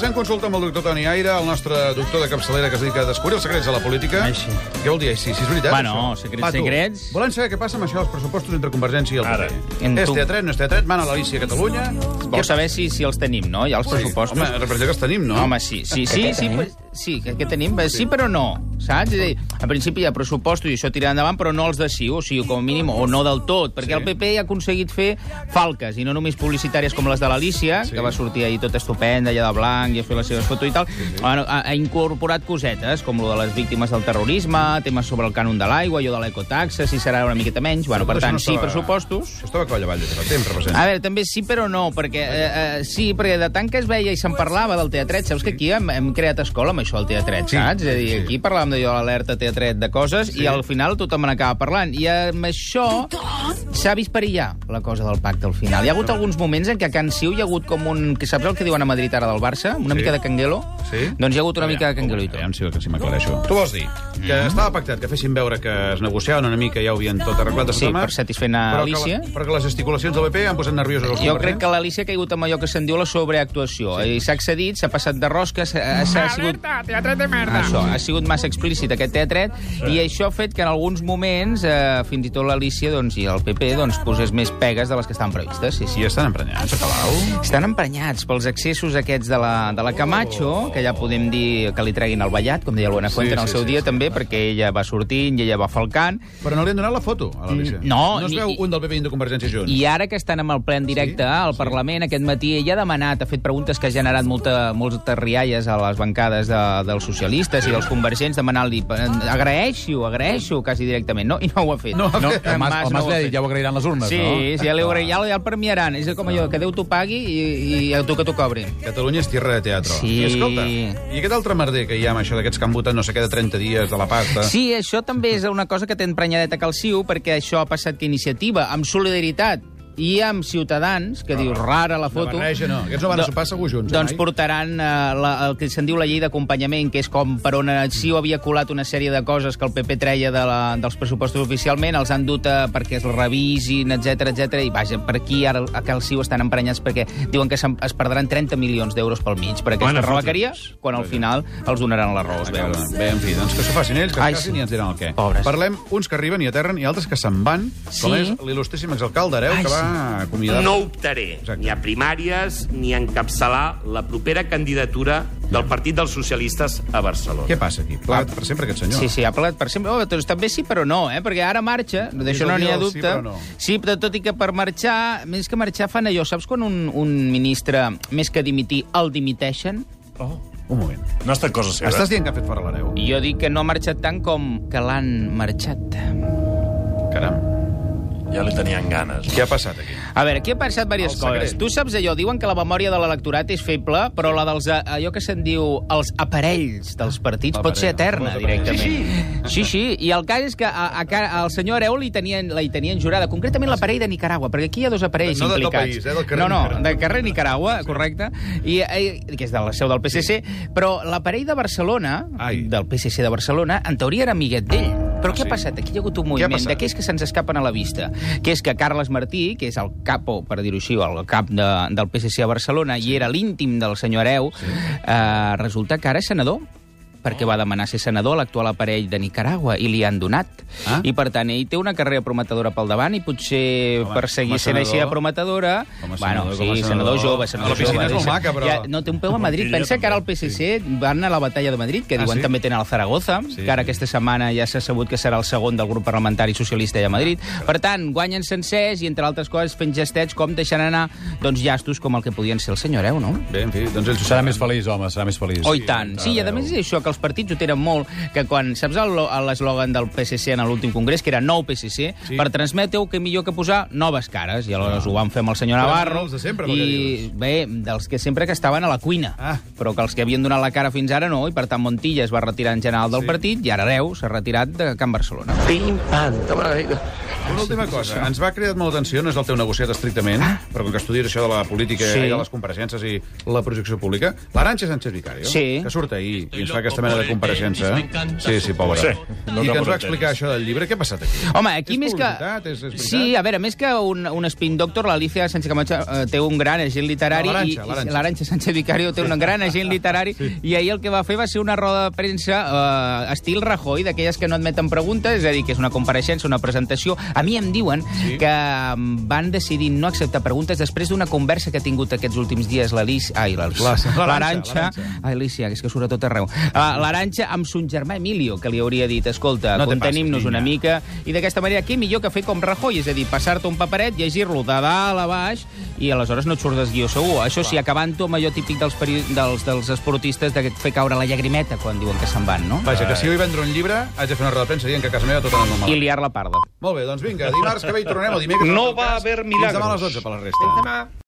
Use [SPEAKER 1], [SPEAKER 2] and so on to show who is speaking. [SPEAKER 1] fem consulta amb el doctor Toni Aire, el nostre doctor de capçalera que es dedica a descobrir els secrets de la política.
[SPEAKER 2] Així.
[SPEAKER 1] Què vol dir així? Si és veritat,
[SPEAKER 2] Bueno,
[SPEAKER 1] això?
[SPEAKER 2] secrets,
[SPEAKER 1] Va, tu.
[SPEAKER 2] secrets.
[SPEAKER 1] Volem saber què passa amb això dels pressupostos entre Convergència i el
[SPEAKER 2] Ara.
[SPEAKER 1] PP.
[SPEAKER 2] En
[SPEAKER 1] És
[SPEAKER 2] tu.
[SPEAKER 1] teatret, no és teatret, mana l'Alícia a Catalunya...
[SPEAKER 2] Vols saber si, si els tenim, no? Ja els pressupostos.
[SPEAKER 1] Home, repressió que els tenim, no?
[SPEAKER 2] Home, sí, sí, sí, sí, pues, sí, que, que tenim, sí, però no, saps? És a dir, en principi hi ha pressupostos i això tirarà endavant, però no els de sí, o sigui, com a mínim, o no del tot, perquè
[SPEAKER 1] Sí.
[SPEAKER 2] el PP ha aconseguit fer falques, i no només publicitàries com les de l'Alícia,
[SPEAKER 1] Sí.
[SPEAKER 2] que va sortir ahir tot estupenda, allà de blanc, i a fer les seves fotos i tal, bueno, ha, ha incorporat cosetes, com lo de les víctimes del terrorisme, temes sobre el cànon de l'aigua, allò de l'ecotaxa, si serà una miqueta menys, bueno, per
[SPEAKER 1] Tot això
[SPEAKER 2] tant,
[SPEAKER 1] no
[SPEAKER 2] sí,
[SPEAKER 1] estava-
[SPEAKER 2] pressupostos...
[SPEAKER 1] Això estava coll avall des de fa temps, repressió.
[SPEAKER 2] A veure, també sí, però no, perquè eh, eh, sí, perquè de tant que es veia i se'n parlava del teatret, saps que aquí hem, hem creat escola amb això, el teatret,
[SPEAKER 1] Sí.
[SPEAKER 2] saps? És a dir,
[SPEAKER 1] Sí.
[SPEAKER 2] aquí parlàvem d'allò, l'alerta teatret de coses, i al final tothom n'acaba parlant. I amb això s'ha vist perillar la cosa del pacte al final. Hi ha hagut alguns moments en què a Can Siu hi ha hagut com un... Que saps el que diuen a Madrid ara del Barça? Una
[SPEAKER 1] Sí.
[SPEAKER 2] mica de canguelo?
[SPEAKER 1] Sí.
[SPEAKER 2] Doncs hi ha hagut una mica
[SPEAKER 1] Aviam,
[SPEAKER 2] de Mm-hmm. canguelo i tot.
[SPEAKER 1] Aviam si, si m'aclareixo. Tu vols dir que estava pactat que fessin veure que es negociaven una mica, ja ho havien tot arreglat els
[SPEAKER 2] Sí,
[SPEAKER 1] temes,
[SPEAKER 2] per satisfer a
[SPEAKER 1] però
[SPEAKER 2] Alícia.
[SPEAKER 1] Que la, però que les gesticulacions del PP han posat nerviosos els
[SPEAKER 2] Jo crec que l'Alícia ha caigut amb allò que se'n diu la sobreactuació. Sí. S'ha excedit, s'ha passat de rosca, s'ha s'ha sigut...
[SPEAKER 3] Alerta, teatre de merda.
[SPEAKER 2] Això, ha sigut massa explícit aquest teatret sí. i això ha fet que en alguns moments eh, fins i tot l'Alícia doncs, i el PP doncs, posés més pegues de les que estan previstes. Sí, sí.
[SPEAKER 1] I estan emprenyats, a Palau.
[SPEAKER 2] Estan emprenyats pels excessos aquests de la, de la Camacho, que ja podem dir que li treguin el ballat, com deia el
[SPEAKER 1] Oh.
[SPEAKER 2] Buenafuente
[SPEAKER 1] Sí,
[SPEAKER 2] sí, en el
[SPEAKER 1] sí,
[SPEAKER 2] seu
[SPEAKER 1] sí,
[SPEAKER 2] sí, dia
[SPEAKER 1] sí,
[SPEAKER 2] també, perquè ella va sortint i ella va falcant.
[SPEAKER 1] Però no li han donat la foto, a l'Alícia.
[SPEAKER 2] Mm, no,
[SPEAKER 1] No es
[SPEAKER 2] ni-
[SPEAKER 1] veu un del PP i un de Convergència junts.
[SPEAKER 2] I ara que estan amb el ple en directe
[SPEAKER 1] Sí,
[SPEAKER 2] sí, al Parlament, aquest matí ella ha demanat, ha fet preguntes que ha generat molta, moltes rialles a les bancades de, dels socialistes i dels convergents, demanant-li, eh, agraeixi-ho, agraeixi-ho, quasi directament, no? I no ho ha fet.
[SPEAKER 1] No ho ha
[SPEAKER 2] no,
[SPEAKER 1] fet.
[SPEAKER 2] en
[SPEAKER 4] El Mas, el Mas
[SPEAKER 2] ho ha
[SPEAKER 4] li ha
[SPEAKER 2] fet.
[SPEAKER 4] dit, ja ho agrairan les urnes,
[SPEAKER 2] Sí,
[SPEAKER 4] no?
[SPEAKER 2] sí, ja, li ho agra- ja, ja el premiaran. És com allò, que Déu t'ho pagui i, i a tu que t'ho cobri.
[SPEAKER 1] Catalunya és tierra de teatre.
[SPEAKER 2] Sí.
[SPEAKER 1] I escolta, i aquest altre merder que hi ha amb això d'aquests que han votat no sé què de 30 dies de la pasta...
[SPEAKER 2] Sí, això també és una cosa que té emprenyadeta Calciu, perquè això ha passat que Iniciativa, amb Solidaritat i amb Ciutadans, que diu rara la foto...
[SPEAKER 1] La barreja no. Aquests no van a
[SPEAKER 2] Do-
[SPEAKER 1] sopar segur junts, eh,
[SPEAKER 2] Doncs
[SPEAKER 1] mai?
[SPEAKER 2] portaran eh, la, el que se'n diu la llei d'acompanyament, que és com per on Arxiu havia colat una sèrie de coses que el PP treia de la, dels pressupostos oficialment, els han dut a, perquè es revisin, etc etc. i vaja, per aquí ara a Calciu estan emprenyats perquè diuen que se'n- es perdran 30 milions d'euros pel mig per aquesta
[SPEAKER 3] Bona foto.
[SPEAKER 2] rebequeria, quan al final els donaran la raó, es veu.
[SPEAKER 1] Bé, en fi, doncs que s'ho facin ells, que
[SPEAKER 2] Ai,
[SPEAKER 1] es casin
[SPEAKER 2] sí.
[SPEAKER 1] i ens diran el què.
[SPEAKER 2] Pobres.
[SPEAKER 1] Parlem uns que arriben i aterren i altres que se'n van, com
[SPEAKER 2] Sí.
[SPEAKER 1] és l'il·lustríssim exalcalde Areu,
[SPEAKER 2] Ai,
[SPEAKER 1] que va acomiadar...
[SPEAKER 5] No optaré
[SPEAKER 1] Exacte.
[SPEAKER 5] ni a primàries ni a encapçalar la propera candidatura del Partit dels Socialistes a Barcelona.
[SPEAKER 1] Què passa aquí? Plat per sempre aquest senyor.
[SPEAKER 2] Ah. Sí, sí, ha plegat per sempre. Oh, doncs també sí, però no, eh? perquè ara marxa, d'això no n'hi ha
[SPEAKER 1] el sí,
[SPEAKER 2] dubte.
[SPEAKER 1] però no.
[SPEAKER 2] Sí, però tot i que per marxar, més que marxar fan allò, saps quan un, un ministre, més que dimitir, el dimiteixen?
[SPEAKER 1] Oh. Un moment.
[SPEAKER 3] No ha estat cosa seva.
[SPEAKER 1] Estàs dient que ha fet fora l'Areu?
[SPEAKER 2] I jo dic que no ha marxat tant com que l'han marxat.
[SPEAKER 1] Caram,
[SPEAKER 3] Ja li tenien ganes.
[SPEAKER 1] què ha passat aquí?
[SPEAKER 2] A veure, aquí ha passat diverses
[SPEAKER 1] El secret.
[SPEAKER 2] coses. Tu saps allò, diuen que la memòria de l'electorat és feble, però la dels, a- allò que se'n diu els aparells dels partits pot ser
[SPEAKER 1] L'aparell,
[SPEAKER 2] eterna,
[SPEAKER 1] els Ah, aparells.
[SPEAKER 2] directament. Sí, sí, i el cas és que a, a, ca- al senyor Areu li tenien, la hi tenien jurada, concretament l'aparell de Nicaragua, perquè aquí hi ha dos aparells
[SPEAKER 1] No del
[SPEAKER 2] implicats.
[SPEAKER 1] país, eh, del carrer
[SPEAKER 2] no, no,
[SPEAKER 1] Nicaragua.
[SPEAKER 2] del carrer Nicaragua, correcte, i, eh, que és de la seu del PSC, però l'aparell de Barcelona,
[SPEAKER 1] Ai.
[SPEAKER 2] del PSC de Barcelona, en teoria era amiguet d'ell. Però
[SPEAKER 1] Ah, sí?
[SPEAKER 2] què ha passat? Aquí hi ha hagut un
[SPEAKER 1] Què ha
[SPEAKER 2] moviment
[SPEAKER 1] passat?
[SPEAKER 2] d'aquells que se'ns escapen a la vista, que és que Carles Martí, que és el capo, per dir-ho així, o el cap de, del PSC a Barcelona, i era l'íntim del senyor Areu, eh, resulta que ara és senador perquè va demanar ser senador a l'actual aparell de Nicaragua i li han donat.
[SPEAKER 1] Ah.
[SPEAKER 2] I, per tant, ell té una carrera prometedora pel davant i potser
[SPEAKER 1] Home,
[SPEAKER 2] per
[SPEAKER 1] com a
[SPEAKER 2] seguir sent
[SPEAKER 1] senador-
[SPEAKER 2] així de prometedora...
[SPEAKER 1] com a
[SPEAKER 2] bueno,
[SPEAKER 1] senador,
[SPEAKER 2] sí,
[SPEAKER 1] com a senador-
[SPEAKER 2] senador, jove, senador
[SPEAKER 1] La piscina
[SPEAKER 2] jove,
[SPEAKER 1] és molt
[SPEAKER 2] sí.
[SPEAKER 1] maca, però-
[SPEAKER 2] Ja, no té un peu a Madrid.
[SPEAKER 3] Montilla
[SPEAKER 2] Pensa que ara el PSC van a la batalla de Madrid, que
[SPEAKER 1] Ah,
[SPEAKER 2] diuen
[SPEAKER 1] sí?
[SPEAKER 2] també tenen el Zaragoza,
[SPEAKER 1] Sí,
[SPEAKER 2] sí, que ara
[SPEAKER 1] sí.
[SPEAKER 2] aquesta setmana ja s'ha sabut que serà el segon del grup parlamentari socialista allà a Madrid. Per tant, guanyen sencers i, entre altres coses, fent gestets com deixant anar doncs, llastos com el que podien ser el senyor Areu, no?
[SPEAKER 1] Bé, en fi, doncs ells ho
[SPEAKER 4] Serà
[SPEAKER 1] saben.
[SPEAKER 4] més feliç, home, serà més feliç.
[SPEAKER 2] Oh, i tant. Sí, i a més és això, que els partits ho tenen molt, que quan, saps el- l'eslògan del PSC en l'últim congrés, que era nou PSC,
[SPEAKER 1] Sí.
[SPEAKER 2] sí. Ah. per transmetre-ho, que millor que posar noves cares, i aleshores ho van fer amb el senyor
[SPEAKER 1] Però
[SPEAKER 2] Navarro,
[SPEAKER 1] els de sempre, com que
[SPEAKER 2] i bé, dels que sempre que estaven a la cuina,
[SPEAKER 1] Ah.
[SPEAKER 2] ah. però que els que havien donat la cara fins ara no, i per tant Montilla es va retirar en general del
[SPEAKER 1] Sí.
[SPEAKER 2] sí. partit, i ara Areu s'ha retirat de Can Barcelona.
[SPEAKER 1] Una última cosa. Ens va cridar molta atenció, no és el teu negociat estrictament, però com que estudies això de la política
[SPEAKER 2] Ah. Sí.
[SPEAKER 1] i de les compareixences i la projecció pública, l'Aranxa Sánchez Vicario,
[SPEAKER 2] Sí.
[SPEAKER 1] que surt ahir i ens fa aquesta mena de compareixença. eh? Sí, sí, pobra.
[SPEAKER 3] Sí, no
[SPEAKER 1] I que ens
[SPEAKER 3] acabo
[SPEAKER 1] va explicar això del llibre. Què ha passat aquí?
[SPEAKER 2] Home, aquí
[SPEAKER 1] És
[SPEAKER 2] més que...
[SPEAKER 1] publicitat, és- és veritat?
[SPEAKER 2] sí, a veure, més que un, un spin doctor, l'Alicia Sánchez Camacho eh, té un gran agent literari.
[SPEAKER 1] No, l'Arantxa,
[SPEAKER 2] i- i-
[SPEAKER 1] l'Arantxa.
[SPEAKER 2] L'Arantxa Sánchez Vicario té un gran agent literari sí. i ahir el que va fer va ser una roda de premsa eh, estil Rajoy, d'aquelles que no admeten preguntes, és a dir, que és una compareixença, una presentació. A mi em diuen sí. que mm, van decidir no acceptar preguntes després d'una conversa que ha tingut aquests últims dies l'Alicia... Ai, l'Alicia.
[SPEAKER 1] l'Arantxa,
[SPEAKER 2] L'Arantxa.
[SPEAKER 1] l'Arantxa.
[SPEAKER 2] Ai, Alicia, que és que surt a tot arreu. Uh, L'Arantxa amb son germà Emilio, que li hauria dit, escolta,
[SPEAKER 1] No
[SPEAKER 2] no
[SPEAKER 1] te
[SPEAKER 2] contenim-nos
[SPEAKER 1] passis,
[SPEAKER 2] una
[SPEAKER 1] Lina.
[SPEAKER 2] mica. I d'aquesta manera, què millor que fer com Rajoy? És a dir, passar-te un paperet, llegir-lo de dalt a baix i aleshores no et surt desguió segur. Això sí, acabant-ho amb allò típic dels, peri... dels, dels esportistes de fer caure la llagrimeta quan diuen que se'n van, no?
[SPEAKER 1] Vaja, que si jo hi vendre un llibre, haig de fer una roda de premsa dient que a casa meva tot anant molt
[SPEAKER 2] I
[SPEAKER 1] malament.
[SPEAKER 2] liar la parda.
[SPEAKER 1] Molt bé, doncs vinga, dimarts que ve hi tornem, o dimecres... en
[SPEAKER 5] No
[SPEAKER 1] tot
[SPEAKER 5] va
[SPEAKER 1] cas,
[SPEAKER 5] haver
[SPEAKER 1] Fins demà a
[SPEAKER 5] milagros.
[SPEAKER 1] les 12 per la resta. Fins demà.